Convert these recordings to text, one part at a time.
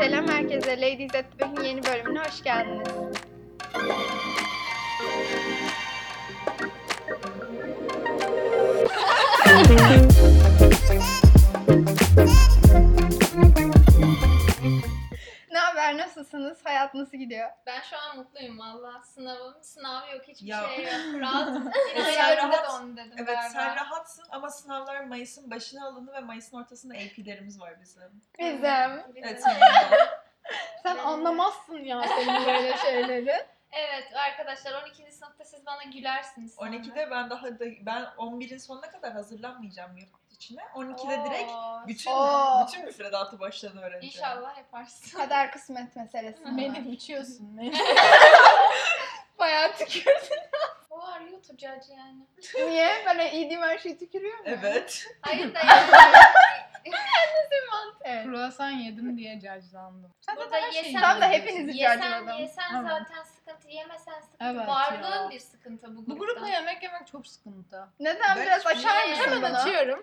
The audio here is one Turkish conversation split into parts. Selam herkese. Ladies at Bey'in yeni bölümüne hoş geldiniz. ne haber? Nasılsınız? Hayat nasıl gidiyor? Ben şu an mutluyum valla. Sınavım, sınav yok, hiçbir Ya. şey yok. Rahat. Evet, Yine sen ayarımda rahat- don dedim Evet galiba. sen rahatsın ama sınavlar Mayıs'ın başına alındı ve Mayıs'ın ortasında AP'lerimiz var bizim. Bizim. Bir de- Evet. Evet. Sen Benim de. anlamazsın ya senin böyle şeyleri. arkadaşlar 12. sınıfta siz bana gülersiniz. sonra. 12'de ben daha da ben 11'in sonuna kadar hazırlanmayacağım yurt içine. 12'de Oo, direkt bütün Oo. bütün müfredatı baştan öğreneceğim. İnşallah yaparsın. Kader kısmet meselesi. Hı. Beni Beni uçuyorsun. Bayağı tükür. Who are you to judge yani? Niye? Ben iyi değil her şeyi tükürüyor muyum? Evet. Hayır da yani. Evet. Kruvasan yedim diye caclandım. Sen Burada her şey şeyi yesen, Tam da yiyorsun. hepinizi yesen, judge'ladım. yesen Tamam. zaten sıkıntı, yemesen sıkıntı. Evet Varlığın ya. bir sıkıntı bu grupta. Bu grupla yemek yemek çok sıkıntı. Neden? Ben Biraz hiçbir açar şey- mısın Hemen bana? açıyorum.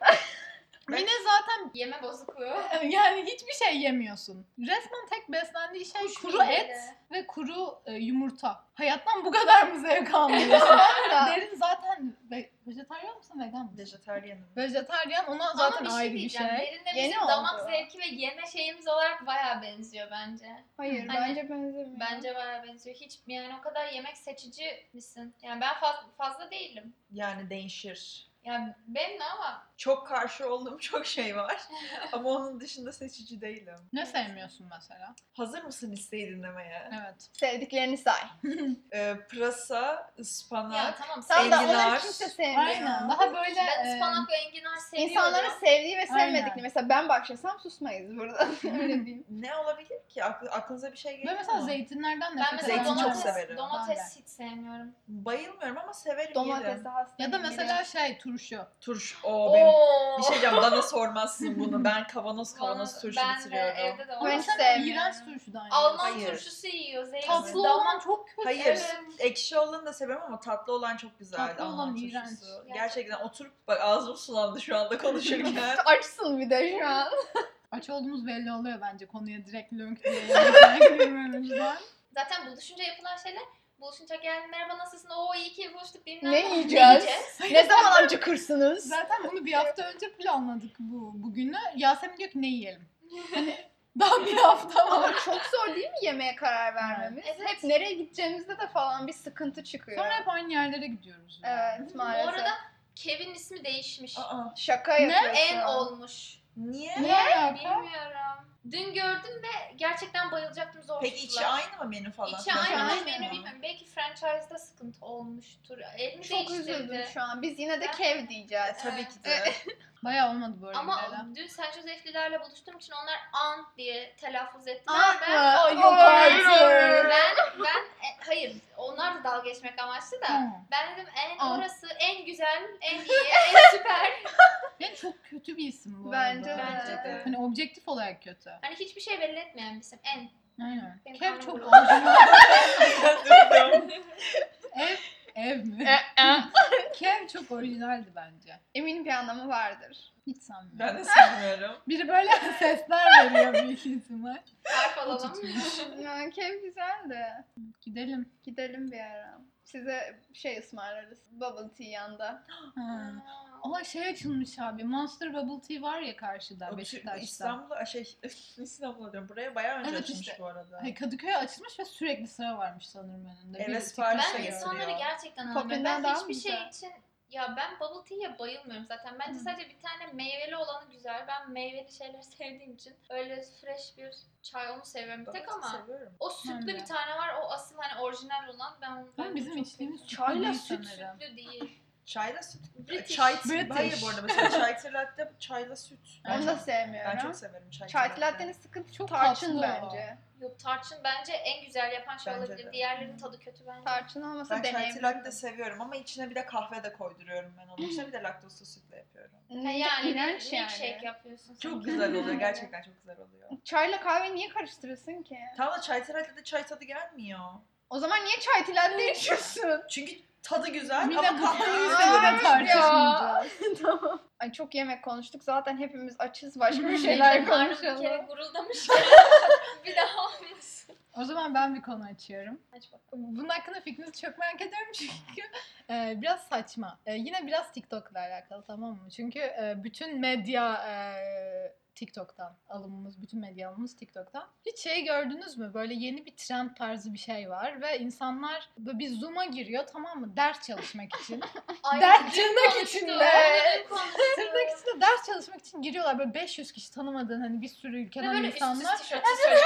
Mine zaten Yeme bozukluğu. yani hiçbir şey yemiyorsun. Resmen tek beslendiği şey Kuş kuru meyveli. et ve kuru e, yumurta. Hayattan bu kadar mı zevk almıyorsun? Derin zaten ve, vejetaryen misin vegan mısın? Vejetaryenim. Vejetaryen ona Ama zaten bir şey ayrı bir diyeceğim. şey. Derinle Yeni bizim oldu. damak zevki ve yeme şeyimiz olarak baya benziyor bence. Hayır Hani- bence benzemiyor. Bence baya benziyor. Hiç yani o kadar yemek seçici misin? Yani ben faz- fazla değilim. Yani değişir. Yani benim de ama Çok karşı olduğum çok şey var. ama onun dışında seçici değilim. Ne sevmiyorsun mesela? Hazır mısın listeyi dinlemeye? Evet. Sevdiklerini say. Ee, pırasa, ıspanak, ya tamam Tam da sevdim. Enginar. onları kimse sevmiyor. Aynen. Daha böyle Ben e, ıspanak ve enginar seviyorum. İnsanların sevdiği ve Aynen. sevmedikleri. Mesela ben başlasam susmayız burada. Öyle diyeyim. Ne olabilir ki? Akl- aklınıza bir şey geliyor Ben mesela mu? zeytinlerden nefret ben mesela Zeytin ederim. çok domates, severim. domates Ben hiç sevmiyorum. Bayılmıyorum ama severim yerim. Domatesi hasta. Ya da mesela şey turşu. Turş. O benim. Oo. Bir şey diyeceğim bana sormazsın bunu. Ben kavanoz Bana- kavanoz turşu ben bitiriyorum. De, evde de Ben Ama olmaz. hiç sen o sevmiyorum. iğrenç turşudan yiyorsun. Alman Hayır. turşusu yiyor. Zeytin. Tatlı Damak- olan çok kötü. Hayır. Evet. Ekşi olanı da severim ama tatlı olan çok güzeldi. Tatlı Alman olan turşusu. iğrenç. Gerçekten. oturup bak ağzım sulandı şu anda konuşurken. Açsın bir de şu an. Aç olduğumuz belli oluyor bence konuya direkt lönk diye. yemek girmemizden. Zaten buluşunca yapılan şeyler buluşunca gel merhaba nasılsın? Oo iyi ki buluştuk bilmem Ne yiyeceğiz? ne zaman acıkırsınız? Zaten bunu bir hafta önce planladık bu bugünü. Yasemin diyor ki ne yiyelim? Hani daha bir hafta var. Ama çok zor değil mi yemeğe karar vermemiz? Evet. Hep nereye gideceğimizde de falan bir sıkıntı çıkıyor. Sonra hep aynı yerlere gidiyoruz. yani. Evet Bu maalesef. arada Kevin ismi değişmiş. Aa, Şaka Ne? yapıyorsun. En olmuş. niye? Ne alaka? Bilmiyorum. Dün gördüm ve gerçekten bayılacaktım zor Peki içi aynı mı menü falan? İçi aynı mı Aynı. benim bilmiyorum. Belki franchise'da sıkıntı olmuştur. Elini Çok üzüldüm değiştirdi. şu an. Biz yine de Ben- kev diyeceğiz. Tabii ki de. Bayağı olmadı bu arada. Ama Ama dün San Jose'lilerle buluştuğum için onlar ant diye telaffuz ettiler. Ant ben, mı? Ay, Ah, yok Hayır. artık. Ben, ben, e, hayır onlar da dalga geçmek amaçlı da. Ben dedim en Ant. orası en güzel, en iyi, en süper. Yani çok kötü bir isim bu Bence arada. Bence de. de. Hani objektif olarak kötü. Hani hiçbir şey belli etmeyen bir isim. En. Aynen. Benim Kev karnım çok gurulduyor. orijinal. Durdum. Ev, ev mi? Kev çok orijinaldi bence. Eminim bir anlamı vardır. Hiç sanmıyorum. ben de sevmiyorum. Biri böyle sesler veriyor büyük ihtimal. Harf alalım. Yani kev güzel de. Gidelim. Gidelim bir ara. Size şey ısmarlarız. Bubble tea yanda. Ha. Aa şey açılmış abi. Monster Bubble Tea var ya karşıda Beşiktaş'ta. İstanbul'a şey İstanbul'a diyorum. Buraya bayağı önce Evet açılmış işte. Hani bu arada. Hayır, Kadıköy'e açılmış ve sürekli sıra varmış sanırım önünde. Eve Biri sipariş TikTok'a Ben de giriyor. insan- insanları ya. gerçekten anlamıyorum. Popin'den Ben daha mı hiçbir şey güzel? için ya ben bubble tea'ye bayılmıyorum zaten. Bence Hı. sadece bir tane meyveli olanı güzel. Ben meyveli şeyler sevdiğim için öyle fresh bir çay onu seviyorum bir tek Ben ama seviyorum. o sütlü Ben de. bir tane var. O asıl hani orijinal olan. Ben onu Ama ben bizim çok içtiğimiz seviyorum. çayla Çayla süt süt sütlü değil. Çayla süt. British. Çay, British. Hayır bu arada mesela çay tır latte çayla süt. Ben Onu da çok- sevmiyorum. Ben çok severim çay Çay tır latte'nin sıkıntı çok Çok tarçın tatlı. bence. Yok tarçın bence en güzel yapan şey Bence olabilir. de. Diğerlerinin tadı kötü bence. Tarçın olmasa Ben çay tır deneyebilirim. latte seviyorum ama içine bir de kahve de koyduruyorum ben onun içine bir de laktozlu sütle yapıyorum. Ha, Ne yani iğrenç yani. şey milkshake yapıyorsun. sen. Çok güzel oluyor gerçekten çok güzel oluyor. Çayla kahve niye karıştırırsın ki? Tamam da çay tır latte de çay tadı gelmiyor. O zaman niye çay tilendiği içiyorsun? Çünkü tadı güzel Mine ama bu kahve konu güzel. Ay üzerine ya. tartışmayacağız. tamam. Ay çok yemek konuştuk. Zaten hepimiz açız. Başka bir Şeyler şeyler konuşalım. Bir kere konuşalım. guruldamış. bir daha olmasın. O zaman ben bir konu açıyorum. Aç bakalım. Bunun hakkında fikrinizi çok merak ediyorum çünkü e, biraz saçma. E, yine biraz TikTok'la alakalı tamam mı? Çünkü e, bütün medya e, TikTok'tan alımımız, bütün medya alımımız TikTok'tan. Hiç şey gördünüz mü? Böyle yeni bir trend tarzı bir şey var ve insanlar böyle bir Zoom'a giriyor tamam mı? Ders çalışmak için. Ay, Dert dün tırnak konuştuk, içinde. dün konuştuk. Tırnak içinde ders çalışmak için giriyorlar. Böyle 500 kişi tanımadığın hani bir sürü Ve ülkeden böyle insanlar. üstsüz tişört, tişört.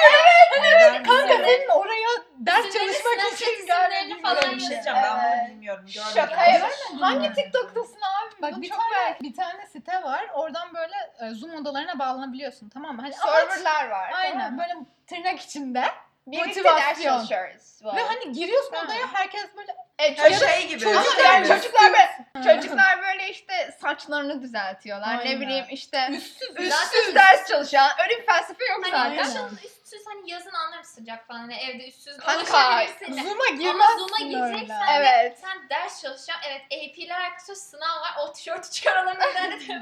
Evet, Kanka senin oraya ders Sizin böyle çalışmak Snapchat için gelmediğin isimlerini falan böyle Böyle bir bir şey. şey diyeceğim ben Evet. bunu bilmiyorum. görmedim. Şaka yapıyorum. Hangi Hangi TikTok'tasın abi? Bak Bu bir çok tane merak- bir tane site var. Oradan böyle e, Zoom odalarına bağlanabiliyorsun tamam mı? Hani amaç- Serverlar var. aynen Tamam. mı? böyle tırnak içinde Birlikte ders motivasyon. çalışıyoruz. bu ve arada. hani giriyorsun Ha. odaya herkes böyle e, Her çocuk- şey gibi. Ama Çocuk- yani Evet. çocuklar böyle, çocuklar böyle işte saçlarını düzeltiyorlar. Aynen. Ne bileyim işte üstsüz. üstsüz ders çalışan. Öyle bir felsefe yok Hani zaten. Aynen. kışın üstsüz hani yazın anlarım sıcak falan. Hani evde üstsüz Kanka, dolaşabilirsin. de. Zoom'a Ama girmezsin Zoom'a öyle. gireceksen Evet. sen ders çalışacaksın. Evet AP'ler arkadaşlar sınav var. O tişörtü çıkaralım.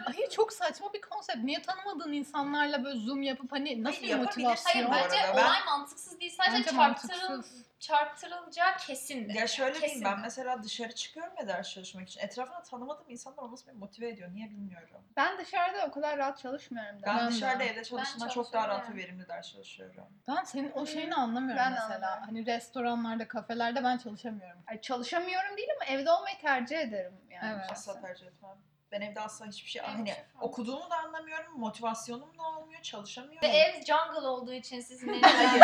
Hayır çok saçma bir konsept. Niye tanımadığın insanlarla böyle Zoom yapıp hani nasıl bir Hayır, yapabilir. motivasyon? Hayır Bu bence arada ben- olay mantıksız değil. Sadece Bence çarptırıl, mantıksız. çarptırılacağı kesindi. Ya şöyle diyeyim ben Kesin. mesela dışarı çıkıyorum ya ders çalışmak için. Etrafında tanımadığım insanlar o nasıl beni motive ediyor niye bilmiyorum. Ben dışarıda o kadar rahat çalışmıyorum da. Ben, Ben de. dışarıda evde çalıştığımda çok daha rahat ve çalışıyorum. verimli ders çalışıyorum. Ben senin o şeyini anlamıyorum Ben de mesela. anlamıyorum. Hani restoranlarda, kafelerde ben çalışamıyorum. Ay, çalışamıyorum değil ama evde olmayı tercih ederim yani. Evet. şahsen. Asla tercih etmem. Ben evde asla hiçbir şey Benim hani şey falan. okuduğumu da anlamıyorum, motivasyonum da olmuyor, çalışamıyorum. Ve ev jungle olduğu için sizin Hayır. eviniz.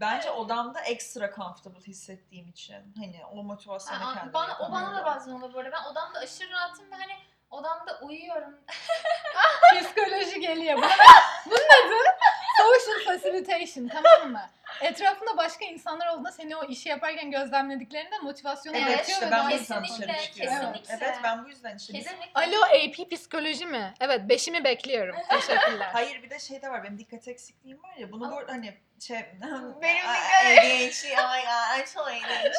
Bence odamda ekstra comfortable hissettiğim için hani o motivasyonu Aa, kendime bana, o bana yapamıyorum. da bazen oluyor böyle. Ben odamda aşırı rahatım ve hani odamda uyuyorum. Psikoloji geliyor. Bunun, bunun adı social facilitation tamam mı? Etrafında başka insanlar olduğunda seni o işi yaparken gözlemlediklerinde motivasyonu Evet, artıyor işte ve ben daha- bu yüzden Kesinlikle, dışarı çıkıyorum. kesinlikle. Evet ben bu yüzden işte biz- Kesinlikle. Alo AP psikoloji mi? Evet beşimi bekliyorum. Teşekkürler. Hayır bir de şey de var benim dikkat eksikliğim var ya bunu bu arada hani şey Benim ADHD ay ay çok ADHD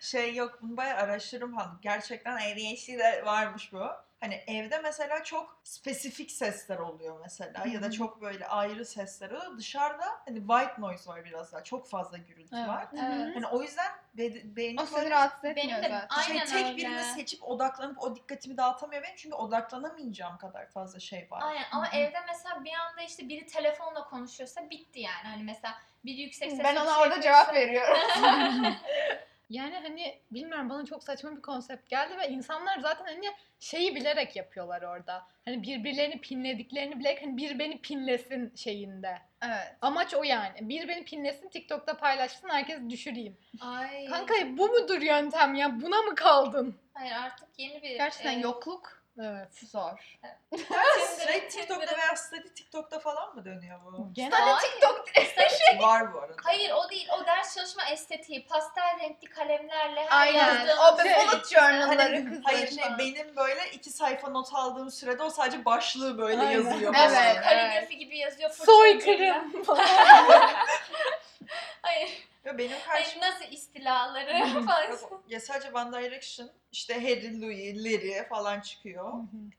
şey yok bunu bayağı araştırırım falan. Gerçekten ADHD de varmış bu. Hani evde mesela çok spesifik sesler oluyor mesela ya da çok böyle ayrı sesler oluyor. Dışarıda hani white noise var biraz daha. Çok fazla gürültü Evet. var. Hı hı. Hani o yüzden be- beynim O böyle seni rahatsız Benim etmiyor Ee, de- zaten. Ay- şey Aynen tek öyle. birini seçip odaklanıp o dikkatimi dağıtamıyor benim çünkü odaklanamayacağım kadar fazla şey var. Aynen ama evde mesela bir anda işte biri telefonla konuşuyorsa bitti yani. Hani mesela biri yüksek sesle Ben bir ona şey orada cevap konuşsa- veriyorum. yani hani bilmiyorum bana çok saçma bir konsept geldi ve insanlar zaten hani şeyi bilerek yapıyorlar orada. Hani birbirlerini pinlediklerini bilerek hani bir beni pinlesin şeyinde. evet. Amaç o yani. Bir beni pinlesin TikTok'ta paylaşsın herkes düşüreyim. Ay. Kanka bu mudur yöntem ya? Buna mı kaldın? Hayır artık yeni bir. Gerçekten e, yokluk Evet. zor. Sürekli TikTok'ta veya Study TikTok'ta falan mı dönüyor bu? Genel Hayır. TikTok Var bu arada. Hani Hayır o değil. O ders çalışma estetiği. Pastel renkli kalemlerle her Aynen. yazdığımız O be şey- bullet journal'ları Hani, kızlar. hayır falan. ne, benim böyle iki sayfa not aldığım sürede o sadece başlığı böyle Aynen. yazıyor. Evet. falan. Böyle Kaligrafi gibi yazıyor. fırça ucuyla. soykırım falan. Hayır. Ve benim Hayır karşımda nasıl istilaları falan. Yok, ya sadece One Direction işte Harry, Louis, Larry falan çıkıyor.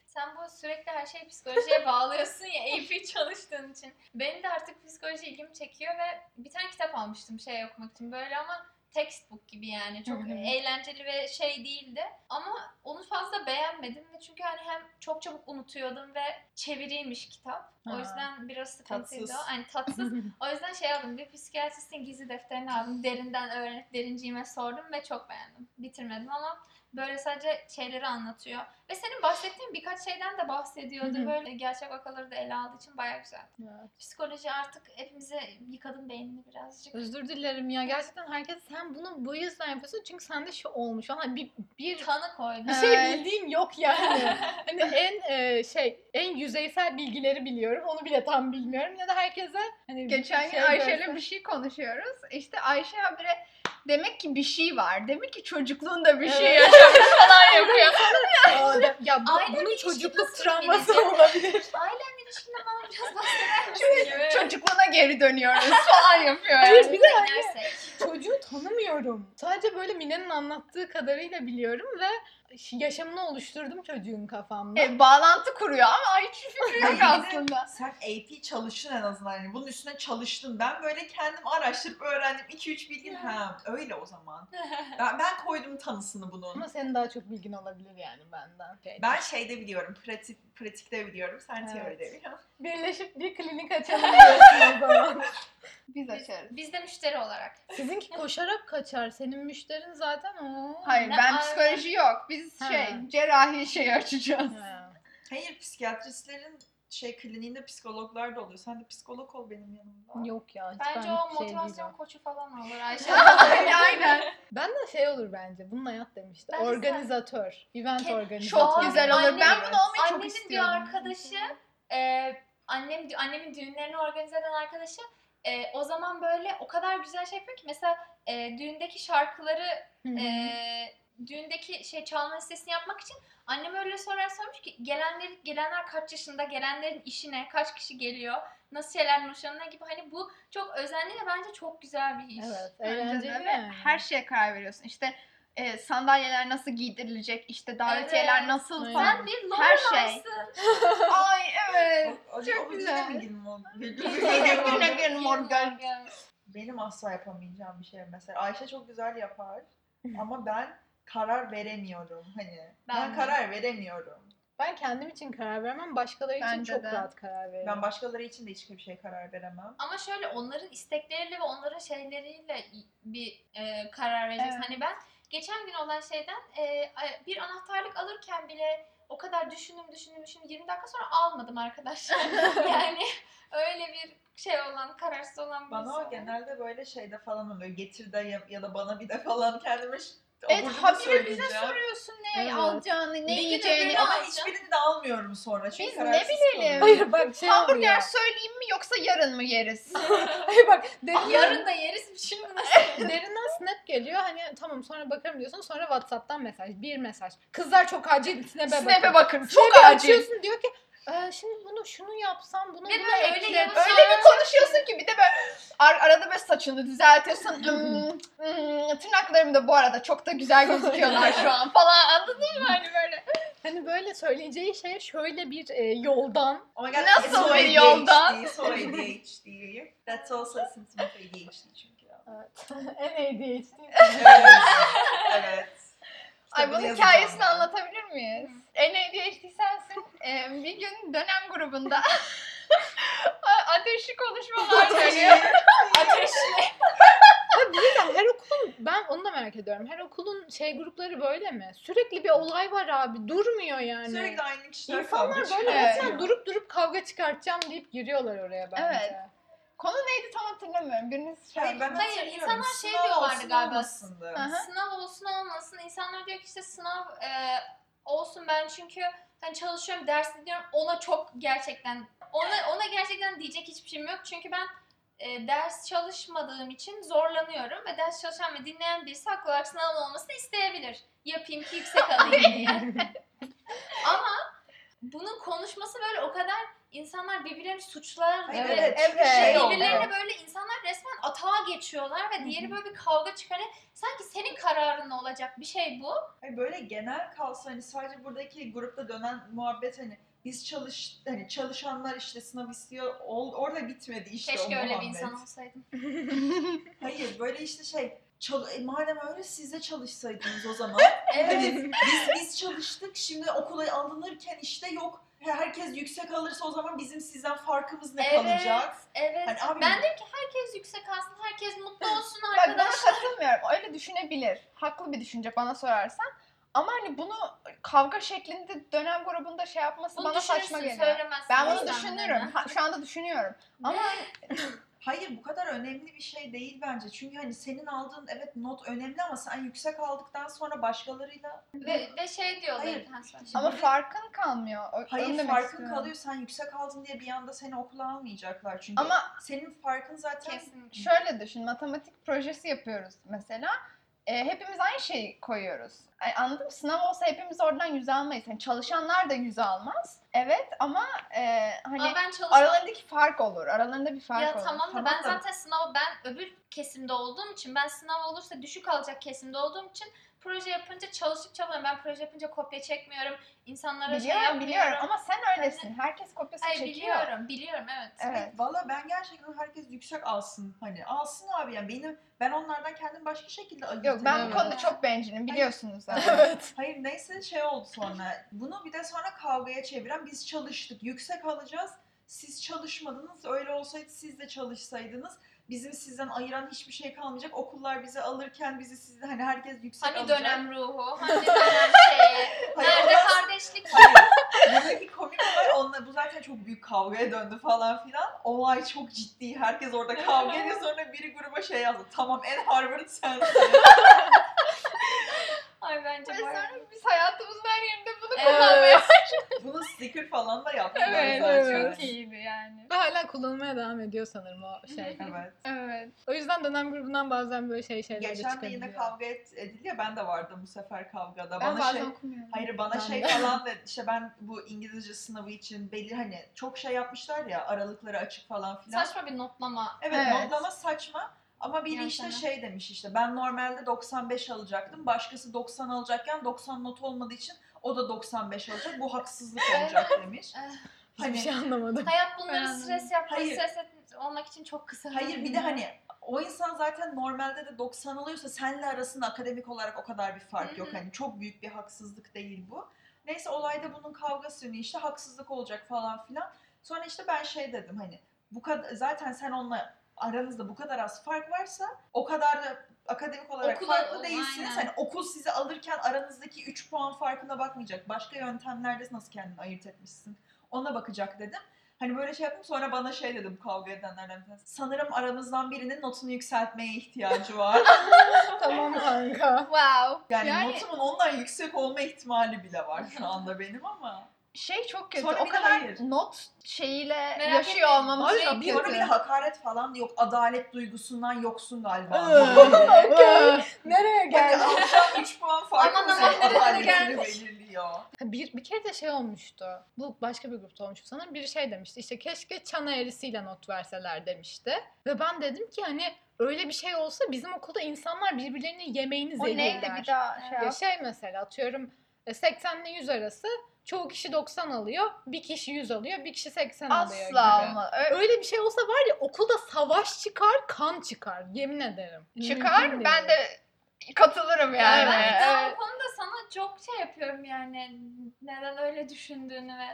Sen bu sürekli her şeyi psikolojiye bağlıyorsun ya AP çalıştığın için. Benim de artık psikoloji ilgimi çekiyor ve bir tane kitap almıştım şey okumak için böyle ama textbook gibi yani çok Hı hı. eğlenceli ve şey değildi. Ama onu fazla beğenmedim ve çünkü hani hem çok çabuk unutuyordum ve çeviriymiş kitap. O Ha. yüzden biraz sıkıntıydı. Tatsız. o. Hani tatsız. o yüzden şey aldım bir psikiyatristin gizli defterini aldım. Derinden öğrenip derinciğime sordum ve çok beğendim. Bitirmedim ama böyle sadece şeyleri anlatıyor. Ve senin bahsettiğin birkaç şeyden de bahsediyordu. Hı hı. Böyle gerçek vakaları da ele aldığı için bayağı güzel. Evet. Psikoloji artık hepimize yıkadım beynini birazcık. Özür dilerim ya. Gerçekten herkes sen bunu bu yüzden yapıyorsun. Çünkü sende şu olmuş. Hani bir, bir, Tanı koydum. bir şey Evet. bildiğim yok yani. hani en e, şey en yüzeysel bilgileri biliyorum. Onu bile tam bilmiyorum. Ya da herkese hani Geçen gün şey Ayşe'yle görsem- bir şey konuşuyoruz. İşte Ayşe habire demek ki bir şey var. Demek ki çocukluğunda bir şey Evet. yaşamış falan yapıyor. Aa, da- ya bu- Ailenin bunun ilişki çocukluk nasıl travması bilinecek? olabilir. Ailenle ilişkinde bana biraz bahseder misin? gibi. Çocukluğuna geri dönüyoruz falan yapıyor. Hayır, Yani. bir Biz de inersek. çocuğu tanımıyorum. Sadece böyle Mine'nin anlattığı kadarıyla biliyorum ve yaşamını oluşturdum çocuğun kafamda. E, bağlantı kuruyor ama hiç fikri yok Hayır, aslında. Sen AP çalıştın en azından. Yani bunun üstüne çalıştın. Ben böyle kendim araştırıp öğrendim. 2-3 bilgin. Ha, öyle o zaman. Ben, ben koydum tanısını bunun. Ama senin daha çok bilgin olabilir yani benden. Şey, Ben şeyde biliyorum. Pratik, pratikte biliyorum. Sen Evet. teoride biliyorsun. Birleşip bir klinik açalım diyorsun o zaman. Biz Biz, açarız. biz de müşteri olarak. Sizinki koşarak kaçar. Senin müşterin zaten o. Hayır Ne ben ara- psikoloji yok. Biz Ha. şey cerrahi şey açacağız. Ha. Hayır psikiyatristlerin şey kliniğinde psikologlar da oluyor. Sen de psikolog ol benim yanımda. Yok ya. hiç Bence ben o bir şey motivasyon diyeceğim. koçu falan olur Ayşe. Aynen, aynen. Ben de şey olur bence. Bunun hayat demişti. Bence sen- Organizatör. Event Ke- organizatörü. Çok Aa, güzel olur. Ben annemin- bunu olmayı çok Annemin bir istiyorum. arkadaşı, e, annem annemin düğünlerini organize eden arkadaşı e, o zaman böyle o kadar güzel şey yapıyor ki mesela e, düğündeki şarkıları Hı hı. Ee, e, düğündeki şey çalma listesini yapmak için annem öyle sorar sormuş ki gelenler gelenler kaç yaşında gelenlerin işine kaç kişi geliyor nasıl şeyler hoşlanıyor gibi hani bu çok özenli ve bence çok güzel bir iş. Evet. Bence de Eğlenceli. ve yani. Her şeye karar veriyorsun. İşte e, sandalyeler nasıl giydirilecek, işte davetiyeler Evet. nasıl Aynen. falan. Sen bir Her Lorelai'sın. şey. Ay evet. O- o- çok o- o- güzel. yine mi Gilmore? Yine Gilmore. Gilmore. Morgan. Benim asla yapamayacağım bir şey mesela. Ayşe çok güzel yapar ama ben karar veremiyorum hani. Ben, Ben de. karar veremiyorum. Ben kendim için karar vermem. Başkaları için Bence çok de. rahat karar veririm. Ben başkaları için de hiçbir şey karar veremem. Ama şöyle onların istekleriyle ve onların şeyleriyle i- bir e, karar vereceksin. Evet. Hani ben geçen gün olan şeyden e, a- bir anahtarlık alırken bile o kadar düşündüm düşündüm düşündüm 20 dakika sonra almadım arkadaşlar. yani öyle bir şey olan kararsız olan Bana birisi. o genelde böyle şeyde falan oluyor. Getir de ya, ya da bana bir de falan kendime ş- Evet, aburcuma habire bize söyleyeceğim. soruyorsun ne Evet. alacağını, ne Bilgi yiyeceğini. öbürü Ama Ama hiçbirini de almıyorum sonra. Çünkü Biz ne kararsız bilelim? kalıyorum. Hayır bak şey hamburger oluyor. söyleyeyim mi yoksa yarın mı yeriz? Hayır bak derin, Yarın da yeriz şey şimdi nasıl? derinden snap geliyor. Hani tamam sonra bakarım diyorsun. Sonra Whatsapp'tan mesaj. Bir mesaj. Kızlar çok acil snap'e bakın. Snap'e bakın. Çok Snap'i acil. açıyorsun diyor ki "Ee, şimdi bunu şunu yapsam bunu Ve bunu böyle ekle. öyle yavaş Öyle bir konuşuyorsun ki bir de böyle ar- arada böyle saçını düzeltiyorsun. Hmm, hmm, tırnaklarım da bu arada çok da güzel gözüküyorlar şu an falan anladın mı hani böyle. Hani böyle söyleyeceği şey şöyle bir e, yoldan. Oh my God, Nasıl it's so bir ADHD, yoldan? So ADHD. That's also a symptom of ADHD çünkü. en ADHD. Evet. evet. Ay Kitabını bunun yazacağım hikayesini ben. anlatabilir miyiz? E, En ADHD sensin. Ee, bir gün dönem grubunda ateşli konuşmalar dönüyor. Ateşli. Abi bir de her okulun ben onu da merak ediyorum. Her okulun şey grupları böyle mi? Sürekli bir olay var abi. Durmuyor yani. Sürekli aynı kişiler İnsanlar kavga böyle çıkarıyor. resmen durup durup kavga çıkartacağım deyip giriyorlar oraya bence. Evet. Konu neydi tam hatırlamıyorum. Biriniz şey Hayır, ben Hayır, hatırlıyorum. insanlar şey Sınav diyorlardı olsun galiba. olmasın da. Aha. sınav olsun olmasın. İnsanlar diyor ki işte sınav e, olsun ben çünkü hani çalışıyorum, ders dinliyorum. Ona çok gerçekten ona ona gerçekten diyecek hiçbir şeyim yok. Çünkü ben e, ders çalışmadığım için zorlanıyorum ve ders çalışan ve dinleyen birisi haklı olarak sınavın olmasını isteyebilir. Yapayım ki yüksek alayım diye. Ama bunun konuşması böyle o kadar insanlar birbirlerini suçlar Hayır, ve evet, çünkü evet. şey oldu. birbirlerine böyle insanlar resmen atağa geçiyorlar ve diğeri böyle bir kavga çıkarıyor. Sanki senin kararın olacak bir şey bu. Hayır, böyle genel kalsa hani sadece buradaki grupta dönen muhabbet hani biz çalış hani çalışanlar işte sınav istiyor ol, orada bitmedi işte o Keşke öyle bir muhabbet. insan olsaydım. Hayır böyle işte şey çal- e, madem öyle siz de çalışsaydınız o zaman. Evet. Hani biz biz çalıştık şimdi okula alınırken işte yok herkes yüksek alırsa o zaman bizim sizden farkımız ne Evet. kalacak? Evet. Hani abi- ben dedim ki herkes yüksek alsın, herkes mutlu olsun Bak buna arkadaşlar. katılmıyorum. Öyle düşünebilir. Haklı bir düşünce bana sorarsan. Ama hani bunu kavga şeklinde dönem grubunda şey yapması Bunu bana saçma düşünürsün, geliyor. söylemezsin. Ben o bunu yüzden hani. düşünürüm. neden? Ha, şu anda düşünüyorum. Ama Hayır bu kadar önemli bir şey değil bence. Çünkü hani senin aldığın evet not önemli ama sen yüksek aldıktan sonra başkalarıyla Ve, ve şey diyorlar. Hayır. Ha, söyle. ama farkın kalmıyor. O- onu hayır demek farkın istiyorum. kalıyor. Sen yüksek aldın diye bir anda seni okula almayacaklar. Çünkü Ama senin farkın zaten Kesinlikle. şöyle düşün. Matematik projesi yapıyoruz mesela. E, hepimiz aynı şeyi koyuyoruz. Ay, anladın mı? Sınav olsa hepimiz oradan yüz almayız. Hani çalışanlar da yüz almaz. Evet ama e, hani Ama ben çalışmam. aralarındaki fark olur. Aralarında bir fark Ya olur. tamam da Tamam ben da- zaten sınavı ben öbür kesimde olduğum için ben sınav olursa düşük alacak kesimde olduğum için proje yapınca çalışıp çabalıyorum. Ben proje yapınca kopya çekmiyorum. İnsanlara şey Biliyorum yapmıyorum. biliyorum ama sen öylesin. Herkes kopyası Hayır, çekiyor. biliyorum, biliyorum evet. Evet. Valla ben gerçekten herkes yüksek alsın. Hani alsın abi yani benim ben onlardan kendim başka şekilde ayırt Yok ben bu edemem. konuda Evet. çok bencilim biliyorsunuz zaten. Evet. Hayır neyse şey oldu sonra. Bunu bir de sonra kavgaya çeviren biz çalıştık. Yüksek alacağız. Siz çalışmadınız. Öyle olsaydı siz de çalışsaydınız. Bizim sizden ayıran hiçbir şey kalmayacak. Okullar bizi alırken bizi sizden hani herkes yüksek Hani alacak. dönem ruhu, hani dönem şeyi. Hayır, Nerede ondan- kardeşlik? Hayır. Buradaki komik olay onunla, bu zaten çok büyük kavgaya döndü falan filan. Olay çok ciddi. Herkes orada kavga ediyor. Sonra biri gruba şey yazdı. Tamam en Harvard sensin. Ay bence Ve bayağı. sonra biz hayatımızın her yerinde bunu Ee, Evet. kullanmaya Bunu sticker falan da yaptılar Evet, zaten. evet. çok iyiydi yani. Ve hala kullanılmaya devam ediyor sanırım o şey. Evet. Evet. O yüzden dönem grubundan bazen böyle şey şeyler de Geçen de çıkabiliyor. yine kavga et, edildi ya ben de vardım bu sefer kavgada. Ben bana bazen şey, okumuyorum. hayır bana Ben şey de. falan dedi. İşte ben bu İngilizce sınavı için belli hani çok şey yapmışlar ya aralıkları açık falan filan. Saçma bir notlama. Evet, Evet. notlama saçma. Ama biri Yani işte sana- şey demiş işte ben normalde 95 alacaktım. Başkası 90 alacakken 90 not olmadığı için o da 95 alacak. Bu haksızlık olacak demiş. Eh. Hiçbir şey hani anlamadım. Hayat bunları Ben- stres yapmak, Hayır. stres et- olmak için çok kısa. hayır bir de hani o insan zaten normalde de 90 alıyorsa senle arasında akademik olarak o kadar bir fark yok. Hı hı. Hani çok büyük bir haksızlık değil bu. Neyse olayda bunun kavgası dönüyor. işte haksızlık olacak falan filan. Sonra işte ben şey dedim hani bu kadar zaten sen onunla aranızda bu kadar az fark varsa o kadar da akademik olarak Okula- farklı değilsiniz. aynen. Hani okul sizi alırken aranızdaki 3 puan farkına bakmayacak. Başka yöntemlerde nasıl kendini ayırt etmişsin ona bakacak dedim. Hani böyle şey yaptım sonra bana şey dedim kavga edenlerden bir tanesi. Sanırım aranızdan birinin notunu yükseltmeye ihtiyacı var. tamam kanka. Wow. Yani, Yani- notumun ondan yüksek olma ihtimali bile var şu anda benim ama. Şey çok kötü. Sonra o bir de kadar hayır. not şeyiyle etmeyin. yaşıyor olmamız Hayır, çok Bir sonra bir de kötü. hakaret falan da yok. Adalet duygusundan yoksun galiba. Ee. Okey. Nereye Yani geldi? alacağım 3 puan Aman farkı aman, senin nereye adaletini gelmiş? belirliyor. Bir, bir kere de şey olmuştu. Bu başka bir grupta olmuştu sanırım. Biri şey demişti. işte keşke çan eğrisiyle not verseler demişti. Ve ben dedim ki hani öyle bir şey olsa bizim okulda insanlar birbirlerinin yemeğini O zehirler. neydi bir daha şey Ya yap. şey mesela atıyorum e, 80 ile 100 arası çoğu kişi 90 alıyor, bir kişi 100 alıyor, bir kişi 80 alıyor gibi. Asla olmaz. Ö- Öyle bir şey olsa var ya okulda savaş çıkar, kan çıkar. Yemin ederim. Çıkar Mümkün ben değil. de katılırım yani. ben Evet. bu konuda sana çok şey yapıyorum yani. Neden öyle düşündüğünü ve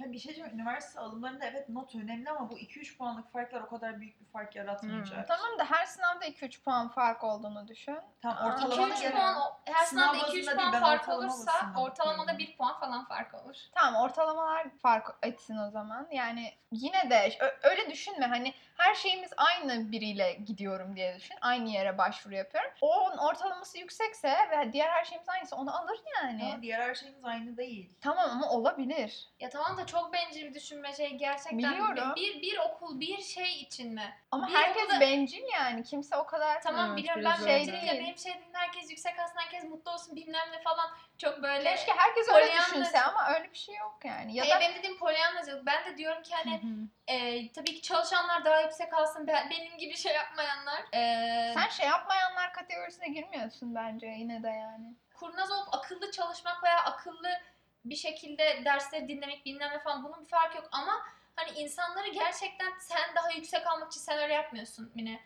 Ya bir şey diyeceğim. Üniversite alımlarında evet not önemli ama bu 2-3 puanlık farklar o kadar büyük bir fark yaratmayacak. Hmm, Tamam da her sınavda 2-3 puan fark olduğunu düşün. Tam Aa, ortalama Ortalamada 2-3 iki, üç göre. puan, o- her Sınav sınavda bazında 2-3 değil, puan ben fark ortalama olursa basından ortalamada bakıyorum. 1 puan falan fark olur. Tamam ortalamalar fark etsin o zaman. Yani yine de ö- öyle düşünme hani her şeyimiz aynı biriyle gidiyorum diye düşün. Aynı yere başvuru yapıyorum. Onun ortalaması yüksekse ve diğer her şeyimiz aynıysa onu alır yani. Ama hani diğer her şeyimiz aynı değil. Tamam ama olabilir. Ya tamam da çok bencil bir düşünme şey gerçekten. Biliyorum. Bir, bir okul bir şey için mi? Ama Bir herkes okulda- bencil yani. Kimse o kadar Tamam Evet, biliyorum ben biraz öyle. şey değil. ya benim şey değil, herkes yüksek alsın herkes mutlu olsun bilmem ne falan. Çok böyle. Keşke herkes öyle Polyanlı- düşünse ama öyle bir şey yok yani. Ya Hayır, da benim dediğim polyanlacılık. Ben de diyorum ki hani Hı hı. e, tabii ki çalışanlar daha yüksek alsın. ben- benim gibi şey yapmayanlar. e, sen şey yapmayanlar kategorisine girmiyorsun bence yine de yani. kurnaz olup akıllı çalışmak veya akıllı bir şekilde dersleri dinlemek bilmem ne falan bunun bir farkı yok ama hani insanları gerçekten sen daha yüksek almak için sen öyle yapmıyorsun Mine.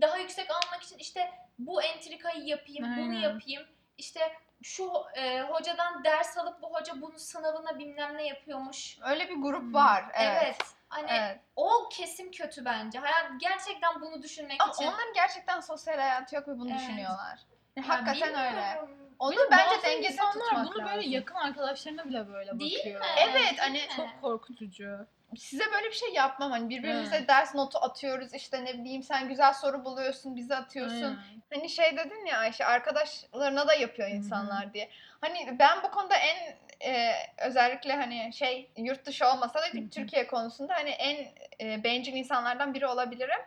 Daha yüksek almak için işte bu entrikayı yapayım, bunu Aynen. yapayım. İşte şu e, hocadan ders alıp bu hoca bunu sınavına bilmem ne yapıyormuş. Öyle bir grup Hmm. var. Evet. Evet. Hani evet. o kesim kötü bence. Hayat gerçekten bunu düşünmek Ama için. onların gerçekten sosyal hayatı yok ve bunu Evet. düşünüyorlar. Yani Ya hakikaten bilmiyorum. öyle. Onu Ve bence bazı dengede insanlar tutmak bunu böyle lazım. yakın arkadaşlarına bile böyle Değil bakıyor. mi? Evet, hani Değil mi? Çok korkutucu. Size böyle bir şey yapmam hani birbirimize ders notu atıyoruz işte ne bileyim sen güzel soru buluyorsun bize atıyorsun. Aynen. Hani şey dedin ya Ayşe arkadaşlarına da yapıyor Hı hı. insanlar diye. Hani ben bu konuda en e, özellikle hani şey yurt dışı olmasa da Hı hı. Türkiye konusunda hani en e, bencil insanlardan biri olabilirim.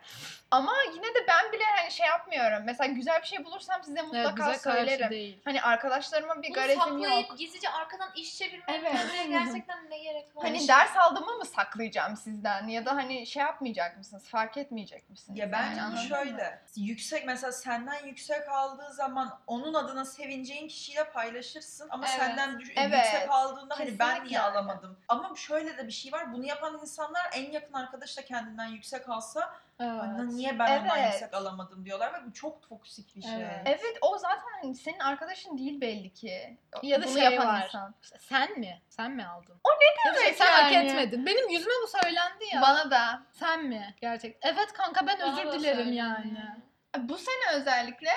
Ama yine de ben bile hani yani şey yapmıyorum. Mesela güzel bir şey bulursam size Evet, mutlaka bize karşı söylerim. değil. Hani arkadaşlarıma bir Bunu garezim saklayıp yok. gizlice arkadan iş çevirmek Evet. evet. gerçekten ne gerek var? Hani Şey- ders aldığımı mı saklayacağım sizden ya da hani şey yapmayacak mısınız? Fark etmeyecek misiniz? Ya bence Yani bu anladın mı? şöyle. Yüksek mesela senden yüksek aldığı zaman onun adına sevineceğin kişiyle paylaşırsın ama Evet. senden düş- Evet. yüksek aldığında hani ben Kesinlikle niye öyle. alamadım? Ama şöyle de bir şey var. Bunu yapan insanlar en yakın arkadaş da kendinden yüksek alsa Hani "Lan Evet. Hani niye ben ondan Evet. yüksek alamadım diyorlar ve bu çok toksik bir şey. Evet. Evet o zaten hani senin arkadaşın değil belli ki. Ya da Bunu şey yapan var. insan. İşte sen mi? Sen mi aldın? O ne demek sen hak yani? etmedin. Benim yüzüme bu söylendi ya. Bana da Sen mi? Gerçek. Evet kanka ben Bana özür da dilerim söyle. yani. bu sene özellikle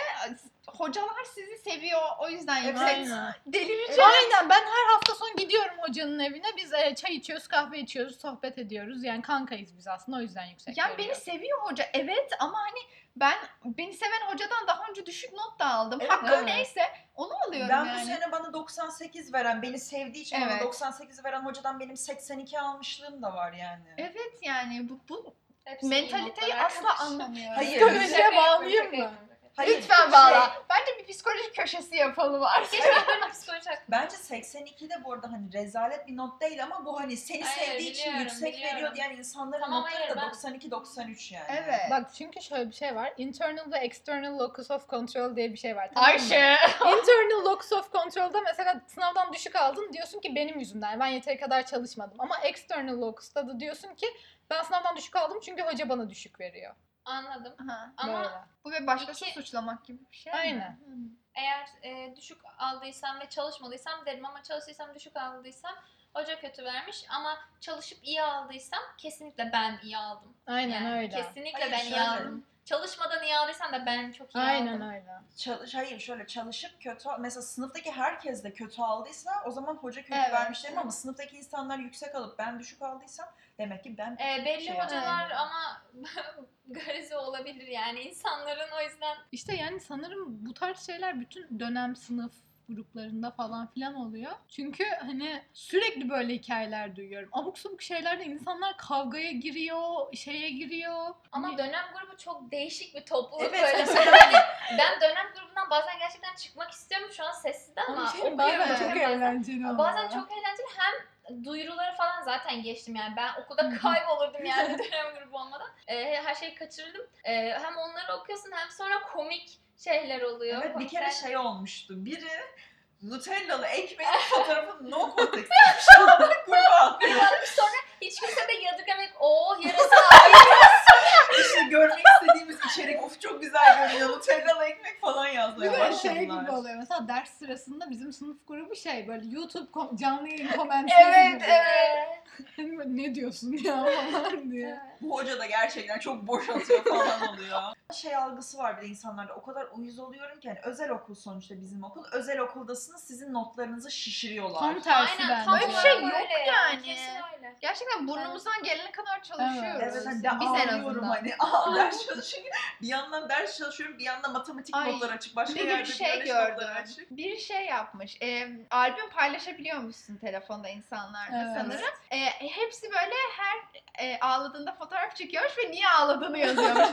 hocalar sizi seviyor o yüzden Evet. yüksek. Aynen. Delireceğim. Şey, Aynen ben her hafta son gidiyorum hocanın evine. Biz e, çay içiyoruz, kahve içiyoruz, sohbet ediyoruz. Yani kankayız biz aslında o yüzden yüksek. Ya görüyor. beni seviyor hoca evet ama hani ben beni seven hocadan daha önce düşük not da aldım. Evet, Hakkım evet. neyse onu alıyorum Ben yani. bu sene bana 98 veren, beni sevdiği için bana Evet. 98 veren hocadan benim 82 almışlığım da var yani. Evet yani bu, bu Hepsi iyi mentaliteyi notlar asla arkadaşlar. şey anlamıyorum. Hayır. Şaka Psikolojiye yapıyorum, şaka bağlayayım mı? yapıyorum, şaka yapıyorum. Hayır, Lütfen şey- bağla. Bence bir psikolojik köşesi yapalım artık. Keşke böyle psikoloji hakkında- Bence 82 de bu arada hani rezalet bir not değil ama bu hani seni Hayır, sevdiği için biliyorum, yüksek biliyorum. veriyor diyen insanların Tamam, notları hayır, da ben- 92-93 yani. Evet. Bak çünkü şöyle bir şey var. Internal ve external locus of control diye bir şey var. tamam mı? Ayşe. Internal locus of control'da mesela sınavdan düşük aldın diyorsun ki benim yüzümden. Ben yeteri kadar çalışmadım. Ama external locus'ta da diyorsun ki ben sınavdan düşük aldım çünkü hoca bana düşük veriyor. Anladım. Aha. Ama Böyle. Bu ve başkasını İki- suçlamak gibi bir şey mi? Aynen. Hı. Eğer e, düşük aldıysam ve çalışmadıysam derim ama çalıştıysam düşük aldıysam hoca kötü vermiş ama çalışıp iyi aldıysam kesinlikle ben iyi aldım. Aynen Yani öyle. Kesinlikle Hayır, ben iyi şöyle. aldım. Çalışmadan iyi aldıysam da ben çok iyi Aynen aldım. öyle. Çalış, hayır şöyle çalışıp kötü mesela sınıftaki herkes de kötü aldıysa o zaman hoca kötü Evet. vermiş derim ama sınıftaki insanlar yüksek alıp ben düşük aldıysam demek ki ben E, belli Şey, hocalar aynen. ama garizi olabilir yani insanların o yüzden İşte yani sanırım bu tarz şeyler bütün dönem sınıf gruplarında falan filan oluyor. Çünkü hani sürekli böyle hikayeler duyuyorum. Abuk subuk şeylerde insanlar kavgaya giriyor, şeye giriyor. ama Hani- dönem grubu çok değişik bir topluluk Evet, böyle. Hani mesela ben dönem grubundan bazen gerçekten çıkmak istiyorum şu an sessizden ama Ama şey, okuyorum. bazen okuyorum. çok eğlenceli oluyor. Bazen çok eğlenceli hem duyuruları falan zaten geçtim yani ben okulda kaybolurdum yani dönem grubu olmadan. Ee, her şeyi kaçırırdım. Ee, hem onları okuyorsun hem sonra komik şeyler oluyor. Evet bir Komik kere şeyler- şey olmuştu. Biri Nutellalı ekmeğin fotoğrafını no context gruba attı. Bakmış sonra hiç kimse de yadırgamayıp o yarası var." İşte görmek istediğimiz içerik of çok güzel görünüyor. Nutellalı ekmek falan bir yazmaya de şey başladılar. gibi oluyor. Mesela ders sırasında bizim sınıf grubu şey böyle YouTube kom- canlı yayın komentleri Evet, gibi. Ee, Hani böyle, ne diyorsun ya falan diye. Bu hoca da gerçekten çok boş atıyor falan oluyor. Şey algısı var bir de insanlarda. O kadar uyuz oluyorum ki hani özel okul sonuçta bizim okul. Özel okuldasınız sizin notlarınızı şişiriyorlar. Tam tersi Aynen tam bence. Öyle bir şey olarak yok öyle yani. Kesin öyle. Gerçekten burnumuzdan gelene kadar çalışıyoruz. Evet hani de Biz en ağlıyorum azından. hani Aa, ders çalışıyorum. Bir yandan ders çalışıyorum bir yandan matematik Ay, notları açık. Başka Bir gün yerde şey biyoloji notları gördüm. açık. Bir şey yapmış. E, albüm paylaşabiliyormuşsun telefonda insanlarla Evet. sanırım. E, hepsi böyle her e, ağladığında fotoğraf çekiyormuş ve niye ağladığını yazıyormuş.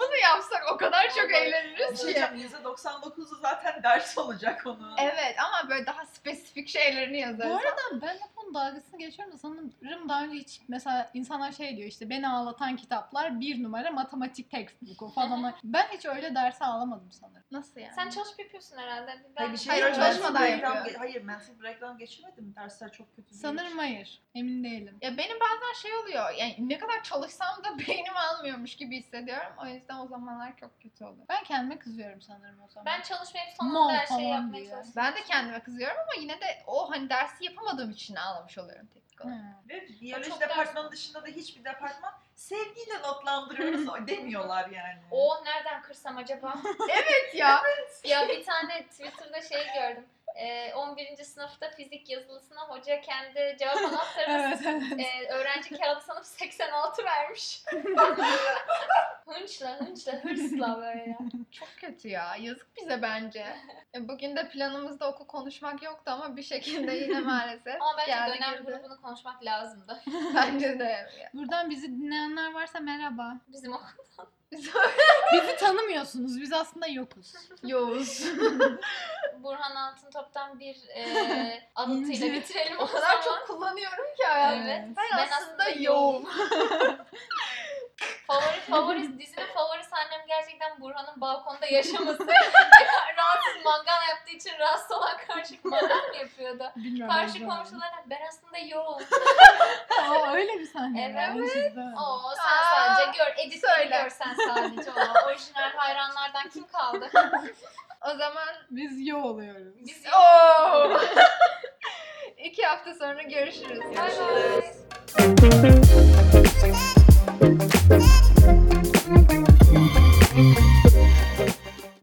Bunu yapsak o kadar çok Vallahi. Bir eğleniriz ki. şey diyeceğim %99'u zaten ders olacak onu. Evet ama böyle daha spesifik şeylerini Bu yazarız. arada ben hep onun dalgasını geçiyorum da sanırım daha önce hiç mesela insanlar şey diyor işte beni ağlatan kitaplar bir numara matematik textbook falan. ben hiç öyle derse ağlamadım sanırım. Nasıl yani? Sen çalışıp yapıyorsun herhalde. Ben Hayır, bir şey Hayır, yok. çalışmadan Mental breakdown- yapıyor. Hayır, mental breakdown geçirmedi mi? Dersler çok kötü değil. Sanırım hayır. Emin değilim. Ya benim bazen şey oluyor. Yani ne kadar çalışsam da beynim almıyormuş gibi hissediyorum. O yüzden o zamanlar çok kötü oluyor. Ben kendime kızıyorum sanırım o zaman. Ben çalışmayıp son Mal anda her şeyi falan yapmaya diye. çalışıyorum. Ben de kendime kızıyorum ama yine de o hani dersi yapamadığım için ağlamış oluyorum teknik olarak. Hı. Ve biyoloji Çok departmanı dışında da hiçbir departman sevgiyle notlandırıyoruz o demiyorlar yani. O nereden kırsam acaba? Evet ya. ya bir tane Twitter'da şey gördüm. Ee, 11. sınıfta fizik yazılısına hoca kendi cevap anahtarını Evet evet. ee, öğrenci kağıdı sanıp 86 vermiş. hınçla hınçla hırsla böyle. Çok kötü ya. Yazık bize bence. E, Bugün de planımızda oku konuşmak yoktu ama bir şekilde yine maalesef Ama bence geldi dönem girdi. grubunu konuşmak lazımdı. Bence de. E- Buradan bizi dinleyenler varsa merhaba. Bizim o Biz- Bizi görmüyorsunuz. Biz aslında yokuz. Yoğuz. Burhan Altıntop'tan bir e, alıntıyla İnce. bitirelim o, o kadar zaman. çok kullanıyorum ki hayatım. Evet. Ben, aslında yoğum. Favori favori dizinin favori sahnem gerçekten Burhan'ın balkonda yaşaması. rahatsız mangal yaptığı için rahatsız olan karşı mangal mı yapıyordu? Bilmiyorum. Karşı o zaman. komşulara ben aslında yoğum. Aa, öyle bir sahne. Evet. varmış, güzel. Oo sen Aa, sadece gör. Editleri söyle. gör sen sadece. Oo, orijinal hayranlardan kim kaldı? O zaman Biz yo oluyoruz. Biz Oo. Oh! İki hafta sonra görüşürüz. Bay bay.